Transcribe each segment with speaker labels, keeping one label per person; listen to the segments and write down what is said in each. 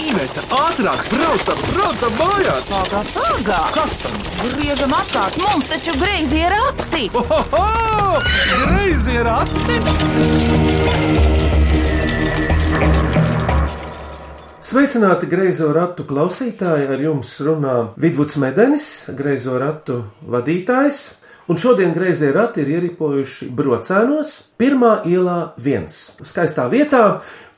Speaker 1: Iveta, ātrāk, braucam, braucam mājās!
Speaker 2: Pagā, pagā!
Speaker 1: Kas tam?
Speaker 2: Griežam apkārt, mums taču greizi ir akti!
Speaker 1: Ohoho! Greizi ir ati!
Speaker 3: Sveicināti greizo ratu klausītāji! Ar jums runā Vidvuds Medenis, greizo ratu vadītājs. Un šodien greizie rati ir ieripojuši brocēnos, pirmā ielā viens, skaistā vietā.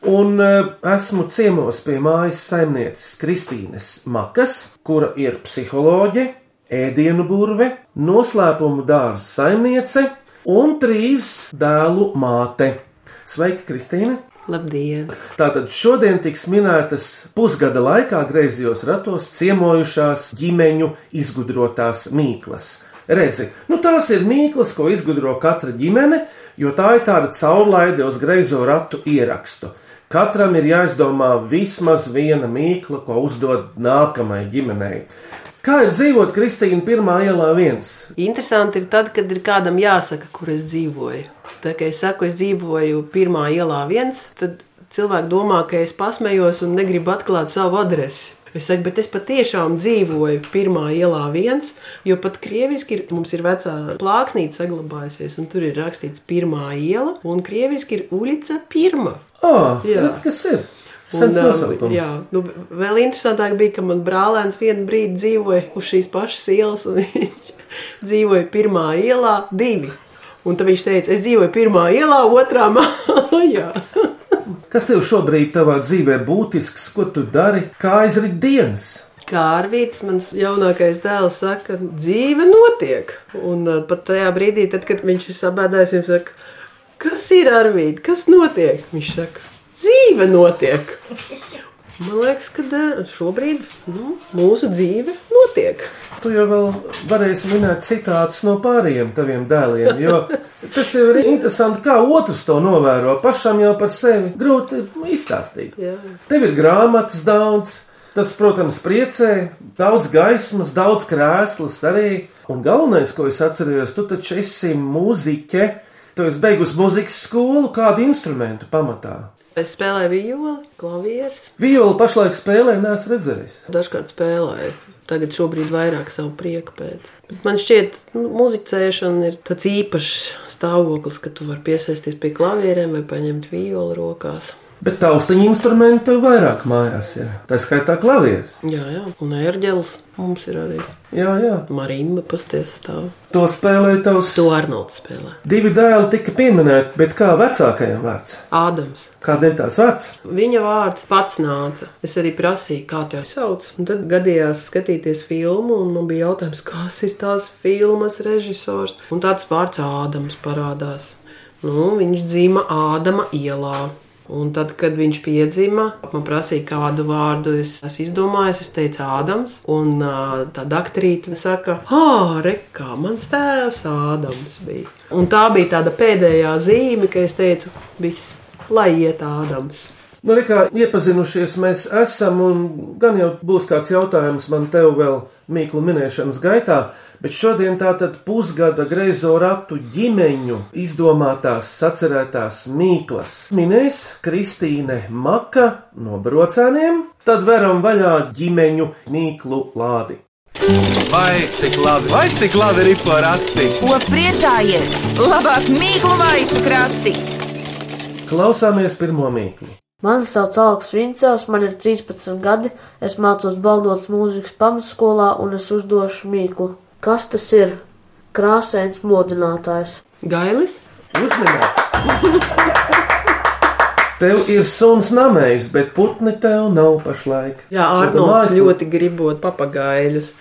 Speaker 3: Un eh, esmu ciemos pie mājas saimnieces Kristīnes Makas, kura ir psiholoģe, ēdienu burve, noslēpumu dārza saimniece un trīs dēlu māte. Sveika, Kristīne!
Speaker 4: Labdien!
Speaker 3: Tātad šodien tiks minētas pusgada laikā griezījos ratos ciemojušās ģimeņu izgudrotās mīklas. Redzi, nu tās ir mīklas, ko izgudro katra ģimene, jo tā ir tāda caurlaide uz griezo ratu ierakstu. Katram ir jāizdomā vismaz viena mīkla, ko uzdod nākamajai ģimenei. Kā ir dzīvot Kristīna pirmā ielā viens?
Speaker 4: Interesanti ir tad, kad ir kādam jāsaka, kur es dzīvoju. Tā kā es saku, es dzīvoju pirmā ielā viens, tad cilvēki domā, ka es pasmējos un negribu atklāt savu adresi. Es saku, bet es patiešām dzīvoju pirmā ielā viens, jo pat krieviski ir, mums ir vecā plāksnīte saglabājusies, un tur ir rakstīts pirmā iela, un krieviski ir ulica pirma.
Speaker 3: Ah,
Speaker 4: Jā.
Speaker 3: redz, kas ir?
Speaker 4: Un,
Speaker 3: Sens
Speaker 4: um,
Speaker 3: nosaukums.
Speaker 4: jā, nu, vēl interesantāk bija, ka man brālēns vienu brīdi dzīvoja uz šīs pašas ielas, un viņš dzīvoja pirmā ielā divi. Un tad viņš teica, es dzīvoju pirmā ielā, otrā mājā.
Speaker 3: Kas tev šobrīd tavā dzīvē būtisks, ko tu dari, kā aizrit dienas?
Speaker 4: Kā Arvīts, mans jaunākais dēls, saka, dzīve notiek. Un uh, pat tajā brīdī, tad, kad viņš ir sabēdājis, viņš saka, kas ir Arvīts, kas notiek? Viņš saka, dzīve notiek. Man liekas, ka uh, šobrīd nu, mūsu dzīve notiek.
Speaker 3: Tu jau vēl varēsi minēt citātus no pārējiem taviem dēliem, jo tas jau ir interesanti, kā otrs to novēro. Pašam jau par sevi grūti izstāstīt.
Speaker 4: Jā.
Speaker 3: Tev ir grāmatas daudz, tas, protams, priecē, daudz gaismas, daudz krēslas arī. Un galvenais, ko es atceros, tu taču esi mūziķe. Tu esi beigusi muzikas skolu, kādu instrumentu pamatā.
Speaker 4: Es spēlēju violi, klavierus,
Speaker 3: Viola pašlaik spēlē, neesmu redzējis.
Speaker 4: dažkārt spēlēju. Tagad šobrīd vairāk savu prieku pēc. Bet man šķiet, nu, muzicēšana ir tāds īpašs stāvoklis, ka tu vari piesaisties pie klavierēm vai paņemt violi rokās.
Speaker 3: Bet taustiņa instrumenti tev vairāk mājās ir. Tā skaitā klavieres.
Speaker 4: Jā, jā, un ērģelis mums ir arī.
Speaker 3: Jā, jā.
Speaker 4: Marīna pasties stāv.
Speaker 3: To spēlēja tavs.
Speaker 4: To Arnolds spēlē.
Speaker 3: Divi dēli tika pieminēti, bet kā vecākajam vārds?
Speaker 4: Ādams.
Speaker 3: Kādēļ tās vārds?
Speaker 4: Viņa vārds pats nāca. Es arī prasīju, kā te sauc. Un tad gadījās skatīties filmu, un man bija jautājums, kas ir tās filmas režisors. Un tāds vārds Ādams parādās. Nu, viņš dzīva Ādama ielā. Un tad, kad viņš piedzima, man prasīja, kādu vārdu es esmu izdomājis. Es teicu, Ādams. Un ā, tad aktrīte saka, ah, re, kā mans tēvs Ādams bija. Un tā bija tāda pēdējā zīme, ka es teicu, viss, lai iet Ādams.
Speaker 3: Nu, re, kā iepazinušies mēs esam, un gan jau būs kāds jautājums man tev vēl mīklu minēšanas gaitā, bet šodien tātad pusgada greizo ratu ģimeņu izdomātās, sacerētās mīklas minēs Kristīne Maka no Brocēniem, tad veram vaļā ģimeņu mīklu lādi.
Speaker 1: Vai cik labi, vai cik labi ir porati!
Speaker 2: Ko priecājies? Labāk mīklu maisu krati!
Speaker 3: Klausāmies pirmo mīklu.
Speaker 5: Mani sauc Aleks Vincevs, man ir 13 gadi, es mācos baldotas mūzikas pamatskolā un es uzdošu mīklu. Kas tas ir? Krāsains modinātājs.
Speaker 4: Gailis,
Speaker 3: Uzmanīgs! Tev ir suns namējs, bet putni tev nav pašlaik.
Speaker 4: Jā,
Speaker 3: Mājas
Speaker 4: Arnolds
Speaker 3: putni.
Speaker 4: ļoti gribot papagaļus.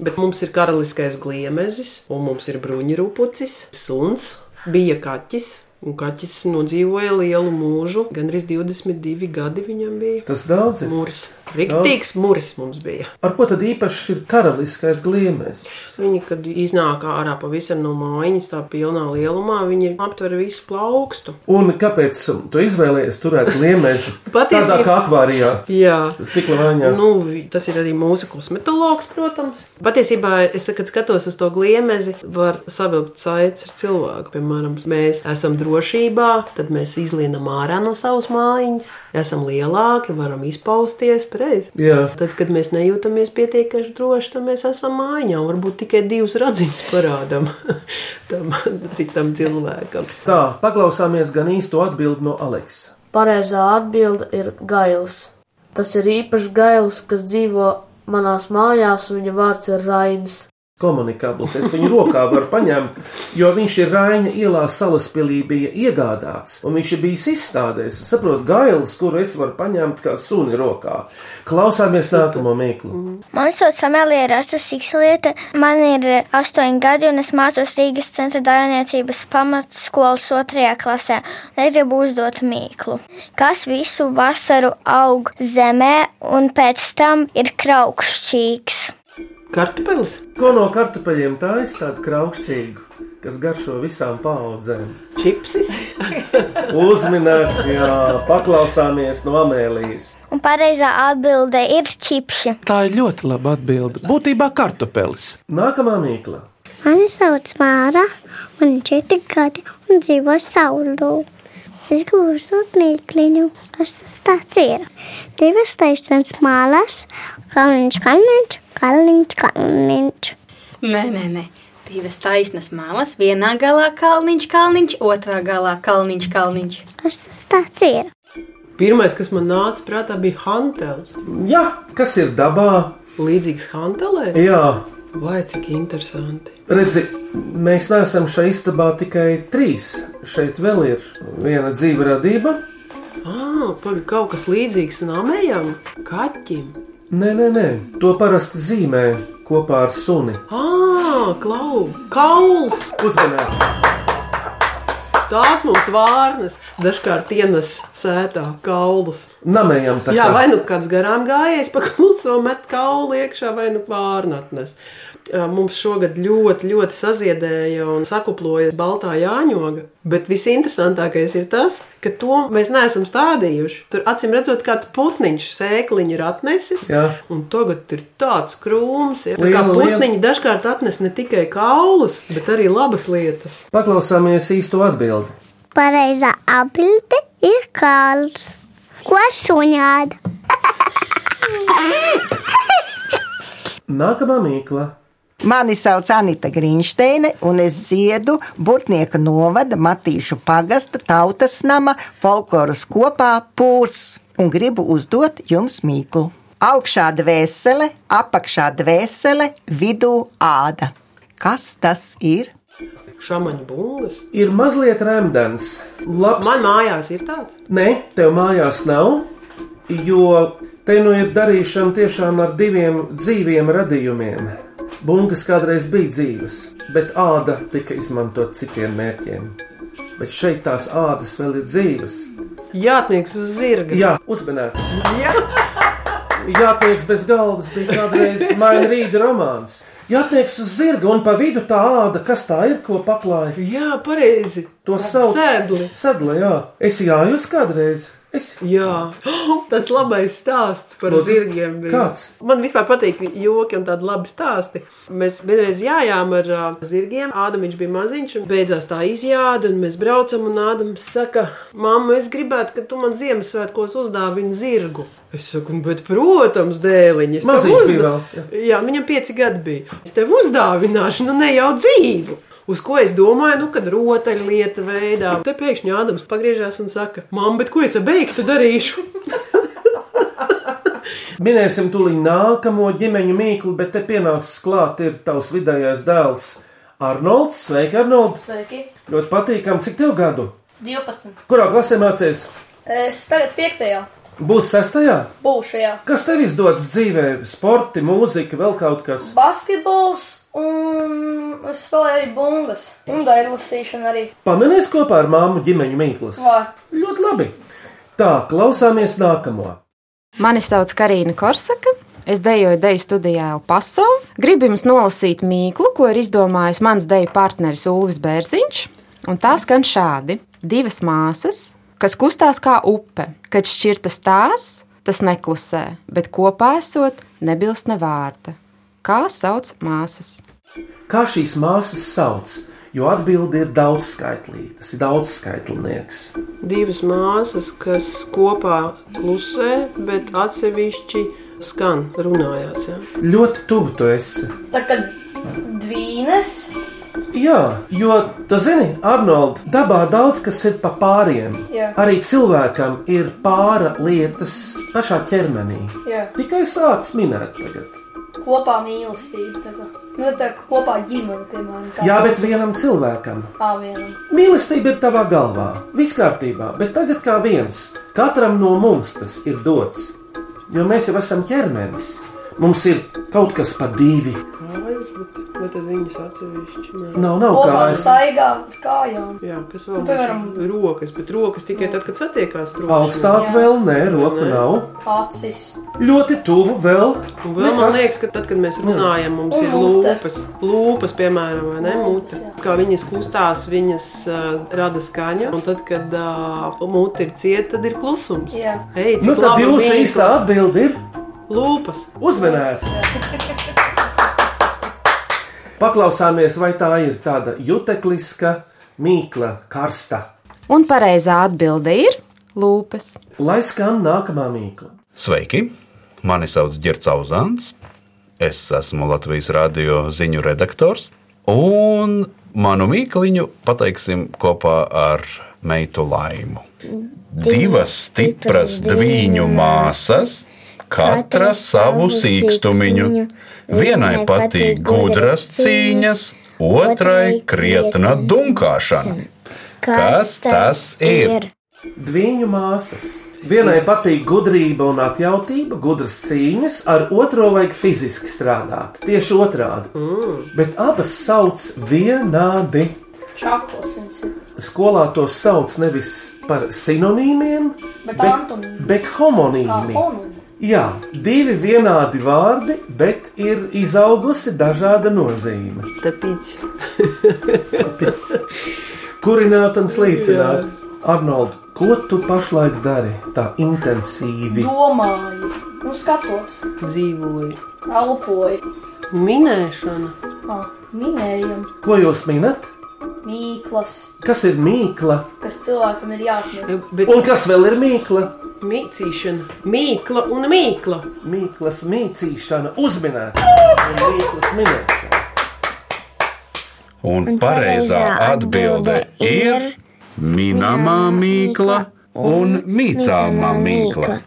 Speaker 4: Bet mums ir karaliskais gliemezis, un mums ir bruņurupucis, suns, bija kaķis. Un kaķis nodzīvoja lielu mūžu, gan arī 22 gadi viņam bija.
Speaker 3: Tas daudz ir.
Speaker 4: Mūris, rīktīgs mūris mums bija.
Speaker 3: Ar ko tad īpašs ir karaliskais gliemēs?
Speaker 4: Viņi, kad iznāk ārā pavisam no mājiņas, tā pilnā lielumā, viņi aptver visu plaukstu.
Speaker 3: Un kāpēc um, tu izvēlējies turēt gliemēs tādā
Speaker 4: Patiesībā-
Speaker 3: kā akvārijā?
Speaker 4: Jā,
Speaker 3: Stikla vāņā.
Speaker 4: Nu, vi- tas ir arī mūsu kosmetologs, protams. Patiesībā, es, kad skatos uz to gliemezi, var savilkt saites ar cilvēku. Piemēram, mēs esam drošībā, tad mēs izlienam ārā no savas mājiņas, esam lielāki, varam izpausties pareizi.
Speaker 3: Jā.
Speaker 4: Tad, kad mēs nejūtamies pietiekami droši, tad mēs esam mājā. un Varbūt tikai divas radziņas parādām tam citam cilvēkam.
Speaker 3: Tā, paklausāmies gan īsto atbildi no Aleksa.
Speaker 5: Pareizā atbilde ir gails. Tas ir īpaši gails, kas dzīvo manās mājās, un viņa vārds ir Rainis.
Speaker 3: komunikabls. Es viņu rokā varu paņemt, jo viņš ir Raina ielā salaspēlī bija iegādāts, un viņš ir bijis izstādēs. Saprotu, gailis, kuru es varu paņemt kā suni rokā. Klausāmies nākamo mīklu.
Speaker 4: Mm.
Speaker 6: Man sauc Amelija Rasa Siksliete, man ir eh, astoņi gadi un es mācos Rīgas centra dārniecības pamatskolas otrajā klasē. Es gribu uzdot mīklu. Kas visu vasaru aug zemē un pēc tam ir kraukšķīgs?
Speaker 4: Kartupeļs,
Speaker 3: Ko no kartupeļiem tā ir tāda kraukšķīga, kas garšo visām paudzēm?
Speaker 4: čipsis,
Speaker 3: Uzminēts, jā, paklausāmies no Amēlijas.
Speaker 6: Un pareizā atbilde ir čipši.
Speaker 1: Tā ir ļoti laba atbilde. Būtībā kartupelis.
Speaker 3: Nākamā mīkla.
Speaker 7: Mani sauc Māra, man ir četri gadi un dzīvo saulē. Es gribu uzdot mīkliņu, kas tas tāds ir. Divas taisnas mālas, kalniņš, kalniņš, kalniņš, kalniņš.
Speaker 8: Nē, nē, nē. Divas taisnas malas, vienā galā kalniņš, kalniņš, otrā galā kalniņš, kalniņš.
Speaker 7: Kas tas tāds ir?
Speaker 4: Pirmais, kas man nāca prātā, bija hantelis.
Speaker 3: Jā, kas ir dabā?
Speaker 4: Līdzīgs hantelē,
Speaker 3: Jā,
Speaker 4: vai cik interesanti.
Speaker 3: Redzi, mēs neesam šeit istabā tikai trīs. Šeit vēl ir viena dzīva radība.
Speaker 4: Ah, pagaidi, kaut kas līdzīgs namējam, kaķim.
Speaker 3: Nē, nē, nē, to parasti zīmē kopā ar suni.
Speaker 4: Ah, klau, kauls!
Speaker 3: Uzmanīgs!
Speaker 4: Tās mums vārnas dažkārt ienes sētā kaulus.
Speaker 3: Namējam tā
Speaker 4: Jā,
Speaker 3: kā.
Speaker 4: vai nu kāds garām gājējis pa kluso met kaulu iekšā, vai nu pārnatnes. Mums šogad ļoti, ļoti saziedēja un sakuploja baltā jāņoga. Bet visinteresantākais ir tas, ka to mēs neesam stādījuši. Tur acīm redzot, kāds putniņš sēkliņu ir atnesis.
Speaker 3: Jā.
Speaker 4: Un tagad ir tāds krūms, ja, tā kā
Speaker 3: Liela, liela.
Speaker 4: putniņi dažkārt atnes ne tikai kaulus, bet arī labas lietas.
Speaker 3: Paklausāmies īsto atbildi.
Speaker 7: Pareizā atbilde ir kāls. Ko suņāda?
Speaker 3: Nākamā mīkla.
Speaker 9: Mani sauc Anita Grīnšteine, un es dziedu Bortnieka novada Matīšu pagasta tautas nama folkloras kopā pūrs. Un gribu uzdot jums mīklu. Augšā dvēsele, apakšā dvēsele, vidū āda. Kas tas ir?
Speaker 4: Šāmaņa bungas.
Speaker 3: Ir mazliet rēmdens. Labs.
Speaker 4: Man mājās ir tāds.
Speaker 3: Nē, tev mājās nav, jo te nu ir darīšana tiešām ar diviem dzīviem radījumiem. Bungas kādreiz bija dzīves, bet āda tika izmantota citiem mērķiem. Bet šeit tās ādas vēl ir dzīves.
Speaker 4: Jātnieks uz zirga.
Speaker 3: Jā, uzmanīts. Jātnieks bez galvas bija kādreiz Mainrīda romāns. Jātnieks uz zirga un pa vidu tā āda, kas tā ir, ko paklāja.
Speaker 4: Jā, pareizi.
Speaker 3: To sauc
Speaker 4: sēdli.
Speaker 3: Sēdli, jā. Es jājus kādreiz. Es
Speaker 4: Jā, tas labais stāsts par
Speaker 3: Lūdzu.
Speaker 4: zirgiem. bija.
Speaker 3: Kāds?
Speaker 4: Man vispār patīk joki un tādi labi stāsti. Mēs vienreiz jājām ar uh, zirgiem, Ādams bija maziņš, un beidzās tā izjāde, un mēs braucam, un Ādams saka, mamma, es gribētu, ka tu man Ziemassvētkos uzdāvini zirgu. Es saku, "Nu, bet, protams, dēliņš.
Speaker 3: Maziņš bija vēl, jā.
Speaker 4: Jā, viņam pieci gadi bija. Es tev uzdāvināšu, nu ne jau dzīvu. Uz ko es domāju, nu, kad rotaļlietu veidā. Te pēkšņi Ādams pagriežās un saka, mamma, bet ko es ar beigtu darīšu?
Speaker 3: Minēsim tūlīt nākamo ģimeņu mīklu, bet te pienācis klāt ir tavs vidējais dēls Arnolds. Sveiki, Arnolds!
Speaker 10: Sveiki,
Speaker 3: Ļoti patīkami, cik tev gadu?
Speaker 10: 12.
Speaker 3: Kurā klasē mācījies?
Speaker 10: Es tagad piektajā
Speaker 3: Būs sestajā?
Speaker 10: būšajā.
Speaker 3: Kas tev izdodas dzīvē? Sporti, mūzika, vēl kaut kas?
Speaker 10: Basketbols un es spēlēju bungas. Un daļlasīšana arī.
Speaker 3: Pamanēs kopā ar māmu ģimeņu mīklas.
Speaker 10: Vai.
Speaker 3: Ļoti labi! Tā, klausāmies nākamo.
Speaker 11: Mani sauc Karina Korsaka. Es dejoju deju studijā Elpaso. Gribu jums nolasīt mīklu, ko ir izdomājis mans deju partneris Ulvis Bērziņš. Un tā skan šādi: divas māsas, kas kustās kā upe, kad šķirtas tās, tas neklusē, bet kopā esot nebilst ne vārta. Kā sauc māsas?
Speaker 3: Kā šīs māsas sauc? jo atbildi ir daudzskaitlīga. Tas ir daudzskaitlnieks.
Speaker 4: Divas māsas, kas kopā klusē, bet atsevišķi skan runājāt. Ja?
Speaker 3: Ļoti tuvu tu esi.
Speaker 10: Tā kā dvīnes,
Speaker 3: Jā, jo, tu zini, Arnold, dabā daudz kas ir pa pāriem.
Speaker 10: Jā.
Speaker 3: Arī cilvēkam ir pāra lietas pašā ķermenī.
Speaker 10: Jā.
Speaker 3: Tikai sācis minēt tagad.
Speaker 10: kopā mīlestība. Tā kā, nu, tā kā kopā ģimene, piemēram. kā-
Speaker 3: Jā, bet vienam cilvēkam.
Speaker 10: Tā vienam.
Speaker 3: Mīlestība ir tavā galvā, viss kārtībā, bet tagad kā viens, katram no mums tas ir dots. Jo mēs jau esam ķermenis. Mums ir kaut kas pa divi.
Speaker 4: Kājas, bet, bet tad viņas atsevišķi. Nē.
Speaker 3: Nav, nav
Speaker 10: Kopā
Speaker 3: kājas.
Speaker 10: staigā ar kājām.
Speaker 4: Jā, kas vēl?
Speaker 10: Nu, piemēram-
Speaker 4: rokas, bet rokas tikai tad, kad satiekās. trokšņi.
Speaker 3: Augstāk vēl nē, roka nav.
Speaker 10: Acis.
Speaker 3: Ļoti tuvu vēl.
Speaker 4: Un vēl man liekas, ka tad, kad mēs
Speaker 3: Nu.
Speaker 4: runājam, mums
Speaker 10: Un
Speaker 4: ir
Speaker 10: mute.
Speaker 4: lūpas, lūpas piemēram, vai ne? Mute. Kā viņas kustās, viņas uh, rada skaņu, un tad, kad uh, mute ir cieta, tad ir klusums.
Speaker 10: Jā.
Speaker 4: Ei, cik
Speaker 3: Nu, tad
Speaker 4: labi
Speaker 3: jūsu
Speaker 4: mīklu.
Speaker 3: īstā atbilde ir
Speaker 4: lūpas.
Speaker 3: uzmanēts. Paklausāmies, vai tā ir tāda jutekliska, mīkla, karsta.
Speaker 11: Un pareizā atbilde ir lūpas.
Speaker 3: Lai skan nākamā mīkla.
Speaker 12: Sveiki! Mani sauc Girts Uzants. Es esmu Latvijas radio ziņu redaktors. Un manu mīkliņu pateiksim kopā ar meitu Laimu. Divas stipras dviņu māsas, katra savu sīkstumiņu. Vienai patīk gudras cīņas, otrai krietna dunkāšana. Kas tas ir?
Speaker 3: Dviņu māsas. Vienai patīk gudrība un atjautība, gudras cīņas, ar otro vajag fiziski strādāt. Tieši otrādi. Mm. Bet abas sauc vienādi.
Speaker 10: Čakls viņš ir.
Speaker 3: Skolā to sauc nevis par sinonīmiem,
Speaker 10: Bet antonīmi.
Speaker 3: bet
Speaker 10: Kā
Speaker 3: homonīmi.
Speaker 10: homo.
Speaker 3: Jā, divi vienādi vārdi, bet ir izaugusi dažāda nozīme.
Speaker 4: Tāpēc.
Speaker 3: Kurināt un slīcināt. Arnold, ko tu pašlaik dari tā intensīvi?
Speaker 10: Domāju. Nu, skatos.
Speaker 4: Dzīvoju.
Speaker 10: Elpoju.
Speaker 4: Minēšana.
Speaker 10: Ah, Minējam.
Speaker 3: Ko jūs minat?
Speaker 10: Mīklas.
Speaker 3: Kas ir mīkla?
Speaker 10: Kas cilvēkam ir jāatmiņ.
Speaker 4: Bet
Speaker 3: Un kas vēl ir mīkla?
Speaker 4: mīcīšana. Mīkla un mīkla.
Speaker 3: Mīklas mīcīšana, uzminēšana un mīklas minēšana.
Speaker 12: Un pareizā atbilde ir minamā mīkla un mīcāmā mīkla.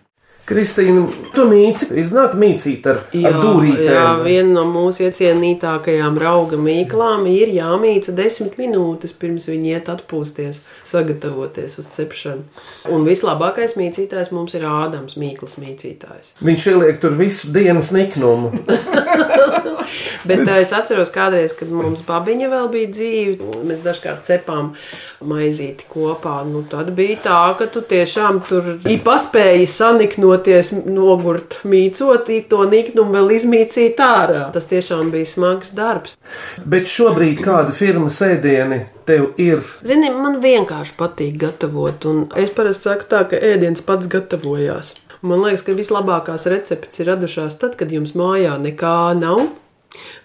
Speaker 3: Kristīna, tu mīci, iznāk mīcīt ar,
Speaker 4: Jā,
Speaker 3: ar dūrītēm.
Speaker 4: jā, viena no mūsu iecienītākajām rauga mīklām ir jāmīca desmit minūtes pirms viņi iet atpūsties, sagatavoties uz cepšanu. Un vislabākais mīcītājs mums ir Ādams Mīklas mīcītājs.
Speaker 3: Viņš ieliek tur visu dienas niknumu.
Speaker 4: Bet tā, es atceros, kādreiz, kad mums babiņa vēl bija dzīve, mēs dažkārt cepām maizīti kopā. Nu, tad bija tā, ka tu tiešām tur īpaspēji saniknoties, nogurt mīcot, i to niknumu vēl izmīcīt ārā. Tas tiešām bija smags darbs.
Speaker 3: Bet šobrīd kāda firmas ēdieni tev ir?
Speaker 4: Zini, man vienkārši patīk gatavot, un es parasti saku tā, ka ēdiens pats gatavojās. Man liekas, ka vislabākās receptes ir radušās tad, kad jums mājā nekā nav.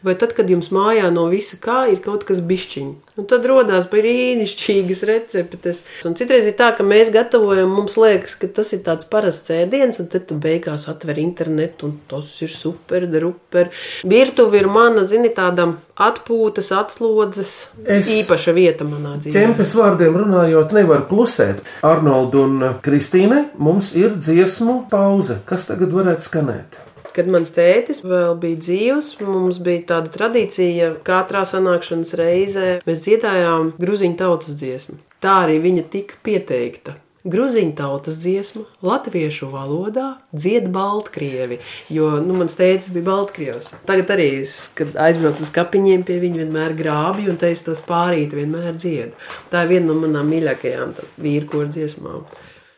Speaker 4: Vai tad, kad jums mājā no visa kā ir kaut kas bišķiņš, un tad radās brīnišķīgas receptes. Un citreiz ir tā, ka mēs gatavojam, mums liekas, ka tas ir tāds parasts ēdiens, un tad tu beigās atver internetu, un tas ir super, druper. Virtuve ir mana, zini, tāda atpūtas, atslodzes
Speaker 3: Es-
Speaker 4: īpaša vieta manā dzīvē.
Speaker 3: Ķempes vārdiem runājot, nevar klusēt. Arnold un Kristīne, mums ir dziesmu pauze. Kas tagad varētu skanēt?
Speaker 4: Kad mans tētis vēl bija dzīves, mums bija tāda tradīcija, ka katrā sanākšanas reizē mēs dziedājām gruziņu tautas dziesmu. Tā arī viņa tika pieteikta. Gruziņu tautas dziesma latviešu valodā dzied baltkrievi, jo nu, mans tēvs bija baltkrievs. Tagad arī, es, kad aizbraucu uz kapiņiem, pie viņa vienmēr grābju un teicu, tos pārīt vienmēr dziedu. Tā ir viena no manām mīļākajām vīrkoru dziesmām.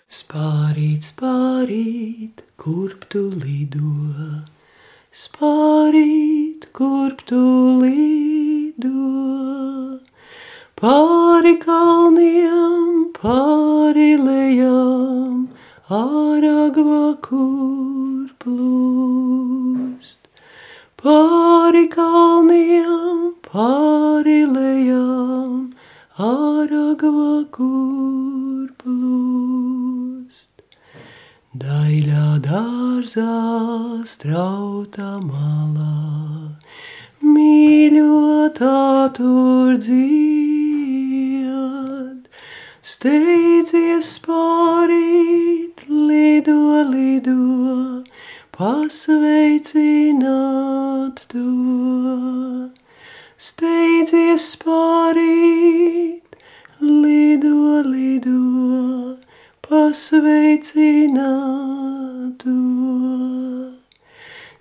Speaker 4: Spārīt, spārīt, kurp tu lido, spārīt, kurp tu lido. Pāri kalniem, pāri lejām, ārāgvā kur plūst. Pāri kalniem, pāri lejām, akva kur plūst, daļā dārzā strauta malā, mīļotā tur dzied, steidzies pārīt, lido, lido, pasveicināt to steidzies pārīt, lido, lido, pasveicinātu.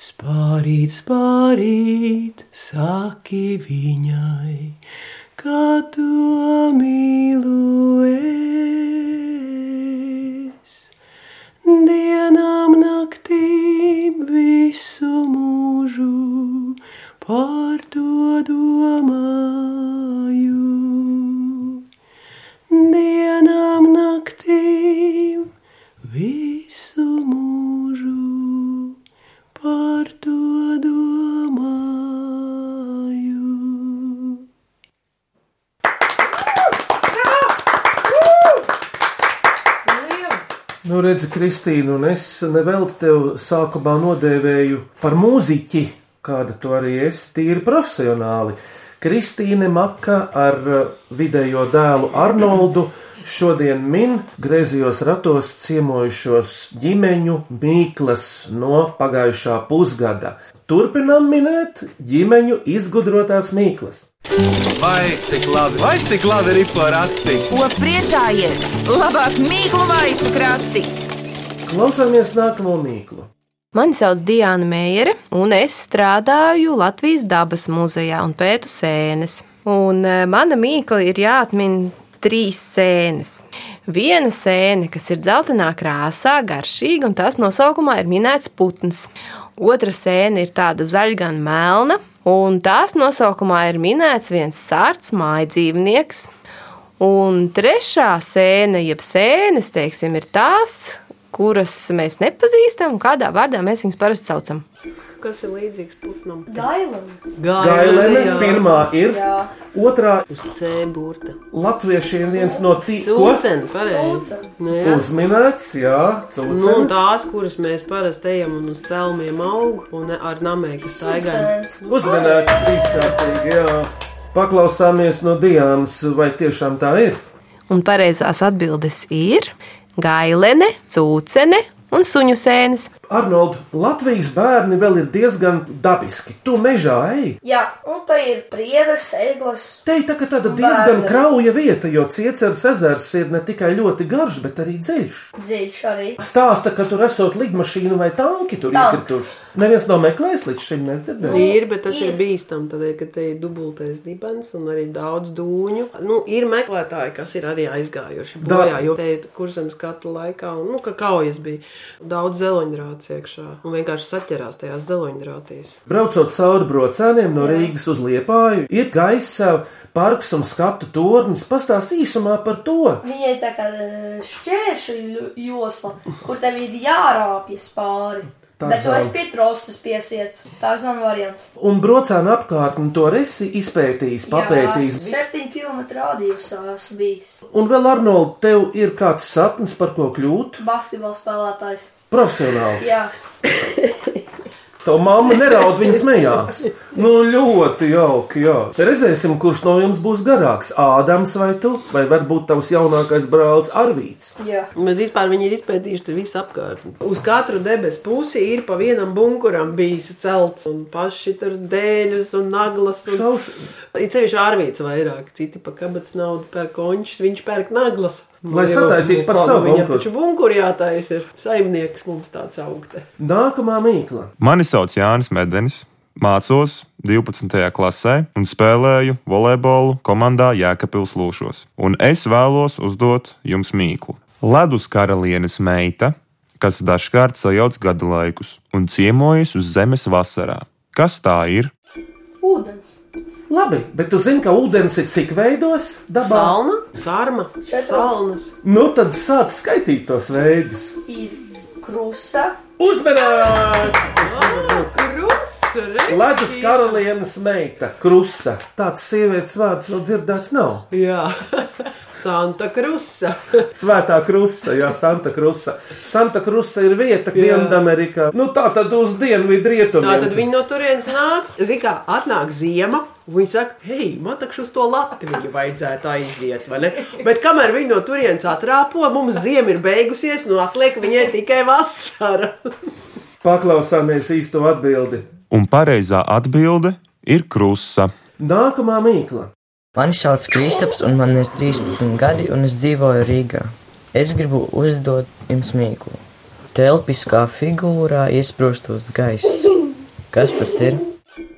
Speaker 4: Spārīt, spārīt, saki viņai, kā tu mīlu es. Dienām naktīm visu mūžu par to domāju. Dienām naktīm visu mūžu par to domāju.
Speaker 3: Nu, redzi, Kristīna, un es nevelti tev sākumā nodēvēju par mūziķi, kāda tu arī esi, tīri profesionāli. Kristīne Maka ar uh, vidējo dēlu Arnoldu šodien min griezījos ratos ciemojušos ģimeņu mīklas no pagājušā pusgada. Turpinam minēt ģimeņu izgudrotās mīklas.
Speaker 13: Vai cik labi, vai cik labi ir porakti?
Speaker 14: Ko priecājies? Labāk mīklu maisu krati!
Speaker 3: Klausāmies nākamo mīklu.
Speaker 11: Mani sauc Diana Meijere, un es strādāju Latvijas dabas muzejā un pētu sēnes. Un eh, mana mīkla ir jāatmin trīs sēnes. Viena sēne, kas ir dzeltenā krāsā, garšīga, un tās nosaukumā ir minēts putns. Otra sēne ir tāda zaļa, gan melna, un tās nosaukumā ir minēts viens sārts mājdzīvnieks. Un trešā sēne, jeb sēnes, teiksim, ir tās, kuras mēs nepazīstam un kādā vārdā mēs viņus parasti saucam.
Speaker 5: Kas ir līdzīgs putnam?
Speaker 10: Gailam.
Speaker 3: Gailēna pirmā ir,
Speaker 10: Jā.
Speaker 3: otrā
Speaker 5: Uz C burta.
Speaker 3: latviešiem viens no tīkliem.
Speaker 5: Cūceni, pareizi. Nu, jā.
Speaker 3: Uzminēts, jā,
Speaker 5: Nu, un
Speaker 3: cūceni.
Speaker 5: tās, kuras mēs parasti ejam un uz celmiem aug, un ar namē, kas taigā.
Speaker 3: Uzmanīgs, trīskārtīgi, jā. Paklausāmies no Dienas, vai tiešām tā ir?
Speaker 11: Un pareizās atbildes ir gailene, cūcene un suņu sēnes.
Speaker 3: Arnold, Latvijas bērni vēl ir diezgan dabiski. Tu mežā ej.
Speaker 10: Jā, un tā ir priedes, eglas.
Speaker 3: Te ir tā, ka tāda
Speaker 10: Un
Speaker 3: diezgan
Speaker 10: bērni.
Speaker 3: krauja vieta, jo cieceres ezers ir ne tikai ļoti garš, bet arī dziļš.
Speaker 10: Dzīvs arī.
Speaker 3: Stāsta, ka tur esot lidmašīna vai tanki tur
Speaker 10: Tanks.
Speaker 3: iekrituši. Neviens nav meklējis līdz šim, nedzirdējis.
Speaker 5: Ir, bet tas ir, ir bīstami, tādēļ, ka te ir dubultais dibens un arī daudz dūņu. Nu, ir meklētāji, kas ir arī aizgājuši
Speaker 3: Da-
Speaker 5: bojā, jo te ir kursam skatu laikā, un, nu, ka kaujas bija daudz zeloņrāts iekšā, un vienkārši saķerās tajās zeloņrātīs.
Speaker 3: Braucot cauri brocēniem no Rīgas uz Liepāju, ir gaisa parks un skatu tornis. Pastāst īsumā par to.
Speaker 10: Viņai tā kā eh, šķēršļu josla, kur tev ir jārāpjas pāri.
Speaker 3: Tā
Speaker 10: Bet tu
Speaker 3: zem.
Speaker 10: esi pie trostas piesiets. Tā zina variants.
Speaker 3: Un brocēna apkārtni to esi izpētījis, papētījis.
Speaker 10: Jā, Septiņu kilometru radiusā esmu bijis.
Speaker 3: Un vēl, Arnold, tev ir kāds sapnis, par ko kļūt?
Speaker 10: Basketbola spēlētājs.
Speaker 3: Profesionāls.
Speaker 10: Jā,
Speaker 3: Tava mamma neraud, viņa smējās. Nu, ļoti jauki, jā. Redzēsim, kurš no jums būs garāks. Ādams vai tu, vai varbūt tavs jaunākais brālis Arvīts.
Speaker 10: jā.
Speaker 5: Bet vispār viņi ir izpētījuši tur visu apkārtni. Uz katru debesu pusi ir pa vienam bunkuram bijis celts, un paši tur dēļus un naglas. Un... Ir sevišķi ārvīts vairāk, citi pa kabats naudu pērk končus, viņš pērk naglas.
Speaker 3: Lai
Speaker 5: Nu,
Speaker 3: sataisītu
Speaker 5: jau-
Speaker 3: par savu
Speaker 5: Viņam
Speaker 3: bunkuru.
Speaker 5: taču bunkuri jātais ir. Saimnieks mums tāds augte.
Speaker 3: Nākamā mīkla.
Speaker 12: Mani sauc Jānis Medenis. Mācos 12. klasē un spēlēju volejbolu komandā Jēkabils Lūšos. Un es vēlos uzdot jums mīklu. Ledus karalienes meita, kas dažkārt sajauc gada laikus un ciemojas uz zemes vasarā. Kas tā ir?
Speaker 10: Ūdens.
Speaker 3: Labi, bet tu zini, ka ūdens ir cik veidos dabā?
Speaker 5: Salna, sarma, salnas.
Speaker 3: Nu, tad sāc skaitīt tos veidus.
Speaker 10: Ir krusa.
Speaker 3: Uzmanīgs!
Speaker 5: Krusa, re?
Speaker 3: Ledus karalienes meita, krusa. Tāds sievietes vārds vēl dzirdēts nav.
Speaker 5: Jā,
Speaker 4: Santa Krusa.
Speaker 3: Svētā krusta, Jā, Santa Krusa. Santa Krusa ir vieta Dienvidamerikā. Nu, tā tad uz dienvidrietumiem.
Speaker 4: Tā tad viņi no turienes nāk. Ziniet, kā atnāk ziema. un Viņi saka, hei, man takš uz to Latviju vajadzētu aiziet, vai ne? Bet kamēr viņi no turienes atrāpo, mums ziema ir beigusies, nu atliek viņai tikai vasara.
Speaker 3: Paklausāmies īsto atbildi.
Speaker 15: Un pareizā atbilde ir krusa.
Speaker 3: Nākamā mīkla.
Speaker 16: Mani sauc Kristaps, un man ir 13 gadi, un es dzīvoju Rīgā. Es gribu uzdot jums mīklu. Telpiskā figūrā iesprūstos gaiss. Kas tas ir?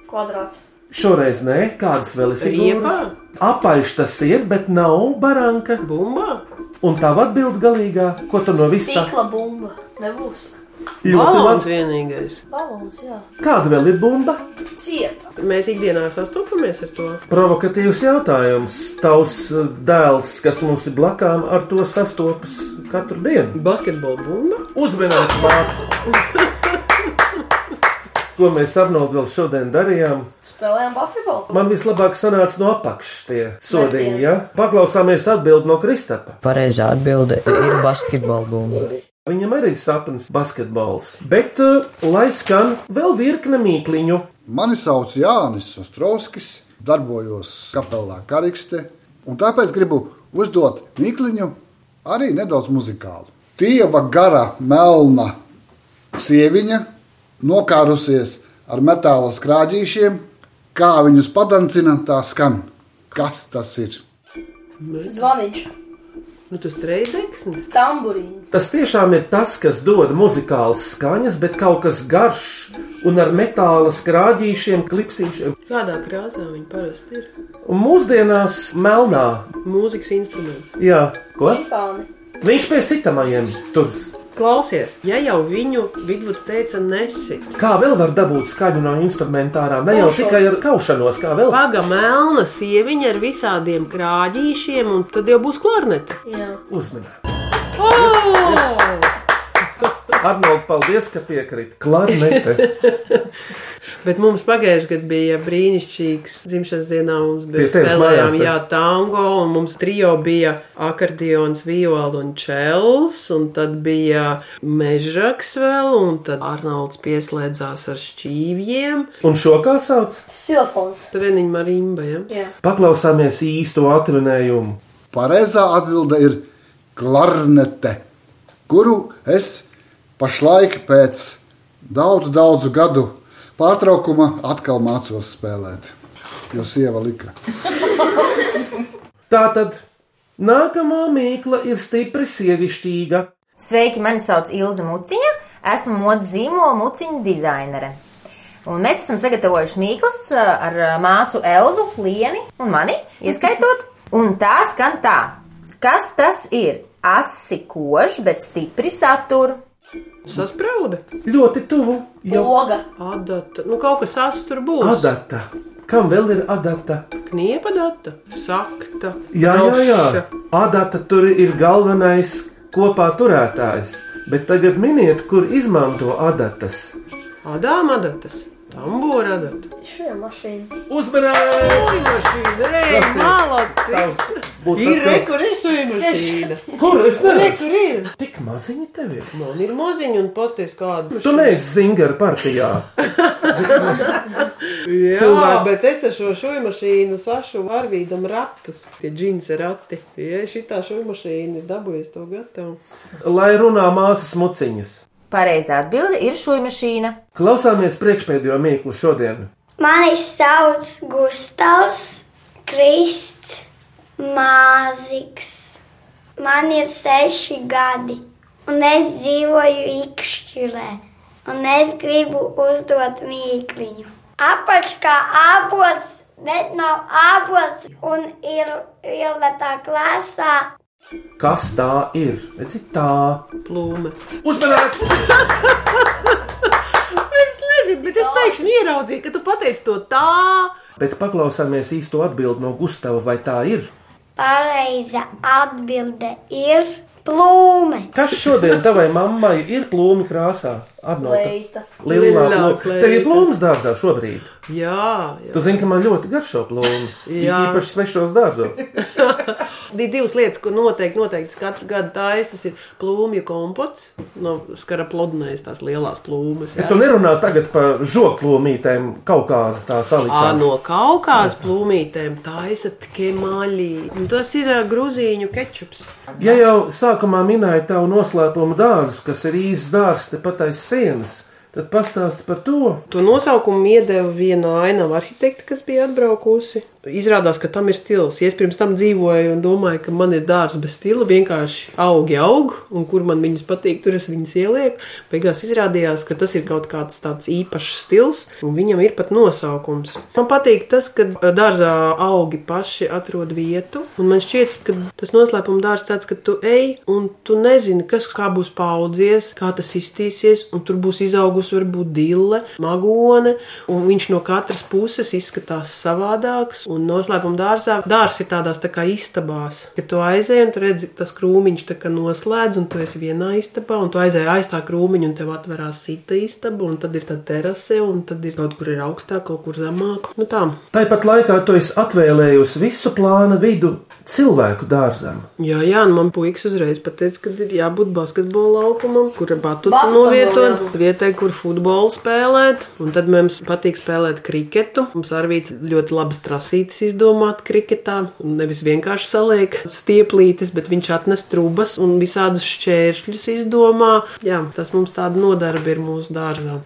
Speaker 10: Kvadrāts.
Speaker 3: Šoreiz nē, kādas vēl ir figūras? Apaļš tas ir, bet nav baranka.
Speaker 4: Bumba!
Speaker 3: Un tā atbild galīgā, ko tu no vis tā
Speaker 10: Stikla bumba. Nebūs.
Speaker 3: ļoti
Speaker 4: Balons
Speaker 3: labi.
Speaker 4: vienīgais.
Speaker 10: Balons, jā.
Speaker 3: Kāda vēl ir bumba?
Speaker 10: Cieta.
Speaker 4: Mēs ikdienā sastopamies ar to.
Speaker 3: Provokatīvs jautājums. Tavs uh, dēls, kas mums ir blakām, ar to sastopas katru dienu.
Speaker 4: Basketbola bumba.
Speaker 3: Uzmanīgs mākslinieks! Ko mēs apnot vēl šodien darījām?
Speaker 10: Spēlējām basketbolu.
Speaker 3: Man vislabāk sanāca no apakšas tie sodiņi,
Speaker 10: Metieni.
Speaker 3: ja? Paklausāmies atbildi no Kristapa.
Speaker 16: Pareizā atbilde ir basketbola bumba.
Speaker 3: Viņam arī ir sapnis basketbols. Bet, uh, lai skan vēl virkne mīkliņu,
Speaker 17: Mani sauc Jānis Ostrovskis, darbojos kapelā Karikste, un tāpēc gribu uzdot Mikliņu arī nedaudz muzikālu. Tieva gara melna sieviņa nokārusies ar metāla skrāģīšiem, kā viņus padancina, tā skan. Kas tas ir?
Speaker 10: Zvaniņš.
Speaker 4: Nu, tas treizdeiksnis.
Speaker 10: Tamburīns.
Speaker 3: tas tiešām ir tas, kas dod muzikālas skaņas, bet kaut kas garš un ar metāla skrāģīšiem, klipsīšiem.
Speaker 4: Kādā krāsā viņi parasti ir?
Speaker 3: Un mūsdienās melnā,
Speaker 4: Mūzikas instruments.
Speaker 3: jā, ko?
Speaker 10: Infāni.
Speaker 3: Viņš pie sitamajiem turas.
Speaker 4: Klausies, ja jau viņu Vigvuds teica nesit.
Speaker 3: Kā vēl var dabūt skaņu no instrumentārā? Ne jau
Speaker 4: Kaušot.
Speaker 3: tikai ar kaušanos, kā vēl.
Speaker 4: Paga melna sieviņa ar visādiem krāģīšiem, un tad jau būs klarnete.
Speaker 10: Jā.
Speaker 3: Uzmanīgs!
Speaker 4: Oh!
Speaker 3: Arnold, paldies, ka piekrīt. Klarnete.
Speaker 4: Bet mums pagājušajā gadā bija brīnišķīgs dzimšanas dienā. Mums
Speaker 3: Pie
Speaker 4: bija
Speaker 3: tevis mājās,
Speaker 4: spēlējām
Speaker 3: tad?
Speaker 4: jā, tango, un mums trijo bija akordeons, viola un čels, un tad bija mežaks vēl, un tad Arnolds pieslēdzās ar šķīvjiem.
Speaker 3: Un šo kā sauc?
Speaker 10: Silfons.
Speaker 4: Treniņš marimba, ja?
Speaker 10: Jā.
Speaker 3: Paklausāmies īsto atvinējumu.
Speaker 17: Pareizā atbilde ir klarnete, kuru es pašlaik pēc daudzu, daudzu gadu Nu, pārtraukuma atkal mācos spēlēt. Jo sieva lika.
Speaker 3: Tā tad nākamā mīkla ir stipri sievišķīga.
Speaker 18: Sveiki, mani sauc Ilza Muciņa. Esmu modes zīmola muciņa dizainere. Un mēs esam sagatavojuši mīklas eh, ar eh, māsu Elzu, Lienu un mani ieskaitot. Un tā skan tā, kas tas ir? Asi kož, bet stipri satur.
Speaker 4: Sasprauda.
Speaker 3: Ļoti tuvu. Jau
Speaker 10: Loga.
Speaker 4: Adata. Nu, kaut kas sas tur būs.
Speaker 3: adata. Kam vēl ir adata?
Speaker 4: Kniepa data. Sakta.
Speaker 3: Jā, jā, jā.
Speaker 4: Droša.
Speaker 3: Adata tur ir galvenais kopā turētājs. Bet tagad miniet, kur izmanto adatas.
Speaker 4: Adām adatas. Tambūra adata.
Speaker 10: Šajā mašīnā.
Speaker 4: Uzmanības! Malacis! Ir rekurēšana.
Speaker 3: Kur es neredzu?
Speaker 4: Tur ir.
Speaker 3: Tik maziņi tev ir.
Speaker 4: Man ir maziņa un posties kādu.
Speaker 3: Tu neesi zingara partijā.
Speaker 4: Jā,
Speaker 3: cilvēki.
Speaker 4: bet es ar šo šūnu mašīnu sašu varvīdam ratus. Tie džins ir rati. Jā, šitā šūnu mašīna ir dabūjusi to gatavu.
Speaker 3: Lai runā māsas muciņas.
Speaker 18: Pareizā atbilde ir šūna mašīna.
Speaker 3: Klausāmies priekšpēdējo mīklu šodien.
Speaker 18: Mani
Speaker 19: sauc Gustavs Krists Māziks. Man ir seši gadi, un es dzīvoju īkšķirē, un es gribu uzdot mīkliņu. Apakšā apelsīds, bet nav apelsīds, un ir violeta krāsā.
Speaker 3: Kas tā ir? Redzi, tā
Speaker 4: plūme.
Speaker 3: Uzmanīgs!
Speaker 4: Es nezinu, bet es pēkšņi ieraudzīju, ka tu pateici to tā.
Speaker 3: Bet paklausāmies īsto atbildi no Gustava, vai tā ir?
Speaker 19: Pareiza atbilde ir plūme.
Speaker 3: Kas šodien tavai mammai ir plūmi krāsā? Arnolda?
Speaker 19: Kleita.
Speaker 3: Lilā
Speaker 4: Lilā
Speaker 3: plūme.
Speaker 4: kleita.
Speaker 3: Tev ir plūmas dārzā šobrīd.
Speaker 4: Jā, jā.
Speaker 3: Tu zini, ka man ļoti garšo plūmas.
Speaker 4: Jā.
Speaker 3: Jā. Īpaši svešos dārzos.
Speaker 4: ir divas lietas, ko noteikti, noteikti es katru gadu taisa. Tas ir plūmju kompots, no skara pludmales, tās lielās plūmes.
Speaker 3: Bet tu nerunā tagad par žoplūmītēm, kaut kādas tā
Speaker 4: À,
Speaker 3: salikšanas.
Speaker 4: no kaut kādas plūmītēm taisa kemaļī. Un Tas ir ā, grūzīņu kečups.
Speaker 3: Ja jau sākumā minēja tavu noslēpumu dārzu, kas ir īsts dārzs tepat aiz sienas, tad pastāsti par to.
Speaker 4: To nosaukumu iedeva viena ainava arhitekta, kas bija atbraukusi. Izrādās, ka tam ir stils. Es pirms tam dzīvoju un domāju, ka man ir dārsts bez stila. Vienkārši augi aug, un kur man viņas patīk, tur es viņas ielieku. Beigās izrādījās, ka tas ir kaut kāds tāds īpašs stils, un viņam ir pat nosaukums. Man patīk tas, ka ā, dārzā augi paši atrod vietu, un man šķiet, ka tas noslēpuma dārsts tāds, ka tu ej un tu nezini, kas kā būs paudzies, kā tas iztīsies, un tur būs izaugusi varbūt dille, magone, un viņš no katras puses izskatās savādāks. Un noslēpuma dārzā dārzs ir tādās tā kā istabās, ka tu aizej un tu redzi, tas krūmiņš tā kā noslēdz, un tu esi vienā istabā, un tu aizej aiz tā krūmiņa, un tev atverās cita istaba, un tad ir tā terase, un tad ir kaut kur ir augstāk, kaut kur zemāk. Nu tā.
Speaker 3: Tāpat laikā tu esi atvēlējusi visu plānu vidu cilvēku dārzam.
Speaker 4: Jā, jā, un man puikas uzreiz pateica, ka ir jābūt basketbola laukumam, kur batuta
Speaker 2: Basketbola,
Speaker 4: novietot,
Speaker 2: jā.
Speaker 4: vietai, kur futbolu spēlēt. Un tad mums patīk spēlēt kriketu. Mums arī ļoti labas trasītes izdomāt kriketā. Un Nevis vienkārši saliek stieplītes, bet viņš atnes trubas un visādus šķēršļus izdomā. Jā, tas mums tāda nodarbe ir mūsu dārzā.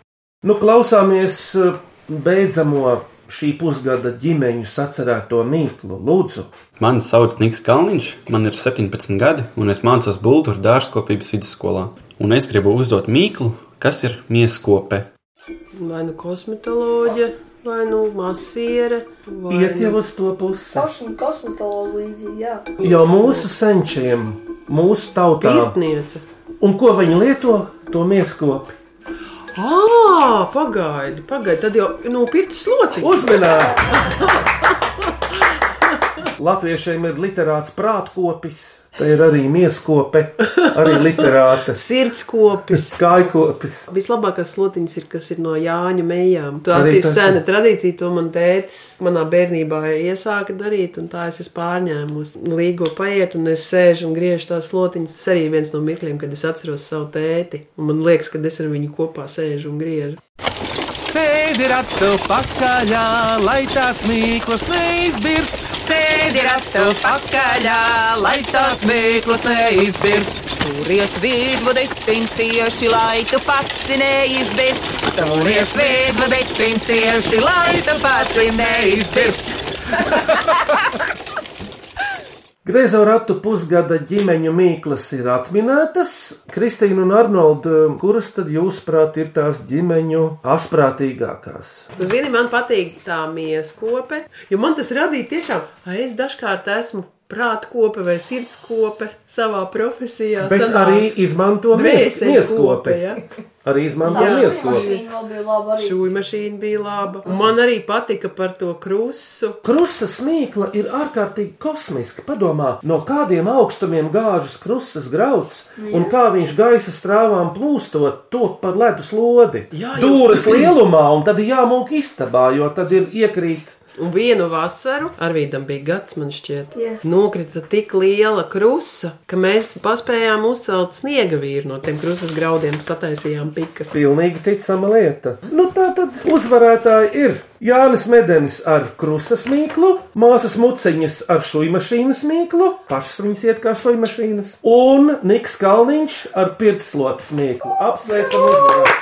Speaker 3: Nu, klausāmies eh, beidzamo šī pusgada ģimeņu sacerēto mīklu. Lūdzu,
Speaker 20: Mani sauc Niks Kalniņš, man ir 17 gadi, un es mācos Bultūru dārzkopības vidusskolā. Un es gribu uzdot mīklu, kas ir mieskope.
Speaker 4: Vai nu kosmetoloģija, vai nu masiere. vai
Speaker 3: iet
Speaker 4: nu-
Speaker 3: jau uz to pusi.
Speaker 10: Saušana kosmetologa līdzīgi, jā.
Speaker 3: Jo mūsu senčiem, mūsu tautā,
Speaker 4: Pirtniece.
Speaker 3: un ko viņi lieto, to mieskopi.
Speaker 4: Ah, pagaidi, pagaidi. Tad jau nu, nopirkt sloti.
Speaker 3: Uzmanīgs! Latviešiem ir literāts prātkopis, tā ir arī mieskope, arī literāta.
Speaker 4: Sirdskopis,
Speaker 3: kājkopis.
Speaker 4: Vislabākās slotiņas ir, kas ir no Jāņa mejām. Tās
Speaker 3: Arī
Speaker 4: ir
Speaker 3: tas
Speaker 4: sena
Speaker 3: ir.
Speaker 4: tradīcija, to man tētis manā bērnībā iesāka darīt, un tā es esmu pārņēmusi. Līgo paiet, un es sēžu un griežu tās slotiņas. Tas arī viens no mirkļiem, kad es atceros savu tēti, un man liekas, ka es ar viņu kopā sēžu un griežu.
Speaker 1: Sēdi ratu pakaļā, lai tās mīklas neizbirs.
Speaker 2: Sēdi ratu pakaļā, lai tās mīklas neizbirst. Turies vīdvadi, pincieši, lai tu pats neizbirst. Turies vīdvadi, pincieši, lai tu pats neizbirst.
Speaker 3: Griezo ratu pusgada ģimeņa mīklas ir atminētas. Kristīna un Arnolds, kuras tad jūsuprāt ir tās ģimeņu asprātīgākās?
Speaker 4: Zini, man patīk tā mieskope, jo man tas radīja tiešām, ai, es dažkārt esmu prātkope vai sirdskope savā profesijā.
Speaker 3: Bet
Speaker 4: sanāk
Speaker 3: arī izmanto mies-
Speaker 4: dvēseļkope,
Speaker 3: mieskopi.
Speaker 4: ja.
Speaker 3: Arī izmanto
Speaker 4: Jā.
Speaker 3: mieskopi.
Speaker 10: Viņa vēl bija laba arī.
Speaker 4: Šūja mašīna bija laba. Un Man arī patika par to krusu.
Speaker 3: Krusas mīkla ir ārkārtīgi kosmiska. Padomā, no kādiem augstumiem gāžas krusas grauds un
Speaker 4: Jā.
Speaker 3: kā viņš gaisa strāvām plūstot, top par ledus lodi.
Speaker 4: Jā, jā.
Speaker 3: Dūras lielumā un tad ir jāmūk istabā, jo tad ir iekrīt.
Speaker 4: Un vienu vasaru, Arvīdam bija gads, man šķiet,
Speaker 3: Jā.
Speaker 4: nokrita tik liela krusa, ka mēs paspējām uzcelt sniega vīru no tiem krusas graudiem, sataisījām pikas.
Speaker 3: Pilnīgi ticama lieta. Nu, tā tad uzvarētāji ir Jānis Medenis ar krusas mīklu, māsas muciņas ar šūmašīnas mīklu, pašas viņas iet kā šūmašīnas, un Niks Kalniņš ar pirtslotas mīklu. Apsveicam uzvarētāju!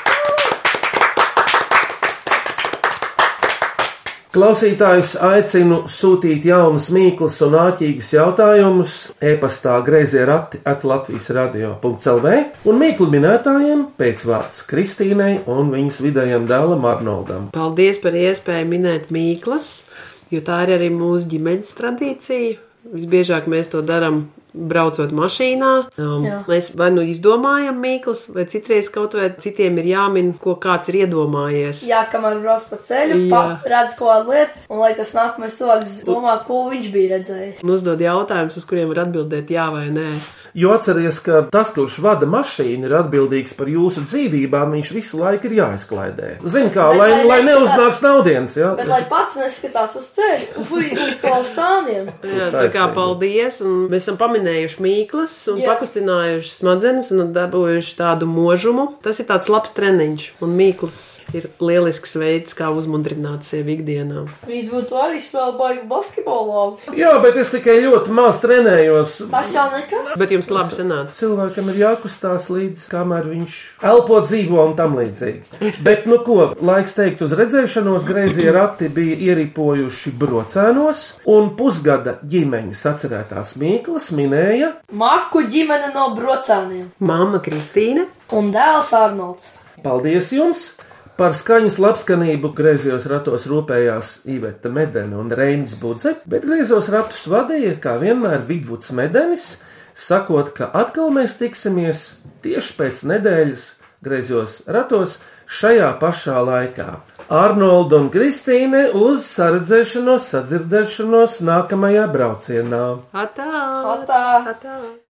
Speaker 3: Klausītājus aicinu sūtīt jaunus, mīklus un āķīgus jautājumus e-pastā grazē rati at Latvijas radio.clv un mīklu minētājiem pēcvārds Kristīnai un viņas vidējam dēlam Arnoldam.
Speaker 4: Paldies par iespēju minēt mīklas, jo tā ir arī mūsu ģimenes tradīcija. Visbiežāk mēs to darām braucot mašīnā. Um,
Speaker 5: Jā.
Speaker 4: mēs vai nu izdomājam mīklas, vai citreiz kaut vai citiem ir jāmin, ko kāds ir iedomājies.
Speaker 10: Jā, kamēr brauc pa ceļu,
Speaker 4: Jā.
Speaker 10: pa, redz kaut kādu lietu, un lai tas nākamais cilvēks domā, ko viņš bija redzējis.
Speaker 4: Un uzdod jautājumus, uz kuriem var atbildēt jā vai nē.
Speaker 3: Jo atcerieties, ka tas, kurš vada mašīnu, ir atbildīgs par jūsu dzīvībām, viņš visu laiku ir jāizklaidē. Ziniet, kā
Speaker 10: Bet
Speaker 3: lai,
Speaker 10: lai
Speaker 3: lai
Speaker 10: neskatās-
Speaker 3: neuznāks naudas, jā.
Speaker 10: Bet lai pats neskatās uz ceļu, fuj, uz to sāniem.
Speaker 4: Jā, tā kā
Speaker 3: Taisnība.
Speaker 4: paldies. un Mēs esam pamanījuši mīklas, un
Speaker 10: Jā.
Speaker 4: pakustinājuši smadzenes un dabūjuši tādu mūžumu. Tas ir tāds labs treniņš, un mīklas ir lielisks veids, kā uzmundrināt sevi ikdienā.
Speaker 10: Viņš būtu arī spēlējis baigi basketbolā.
Speaker 3: Jā, bet es tikai ļoti maz trenējos.
Speaker 10: Tas jau nekas.
Speaker 4: Bet jums labi sanāca.
Speaker 3: Cilvēkam ir jākustās līdz kamēr viņš elpo, dzīvo un tam līdzīgi. Bet, nu ko, laiks teikt uz redzēšanos, greizie rati bija ieripojuši brocēnos, un pusgada ģimeņas atcerētās Mīklas minēja
Speaker 10: Maku ģimene no brocēniem.
Speaker 4: Māma Kristīna.
Speaker 10: Un dēls Arnolds.
Speaker 3: Paldies jums! Par skaņas labskanību griezos ratos rūpējās Iveta Medena un Reinis Budze, bet griezos ratus vadīja, kā vienmēr, Vidvuds Medenis, sakot, ka atkal mēs tiksimies tieši pēc nedēļas griezos ratos šajā pašā laikā. Arnoldu un Kristīne uz saredzēšanos, sadzirdēšanos nākamajā braucienā.
Speaker 4: Atā!
Speaker 10: Atā! Atā.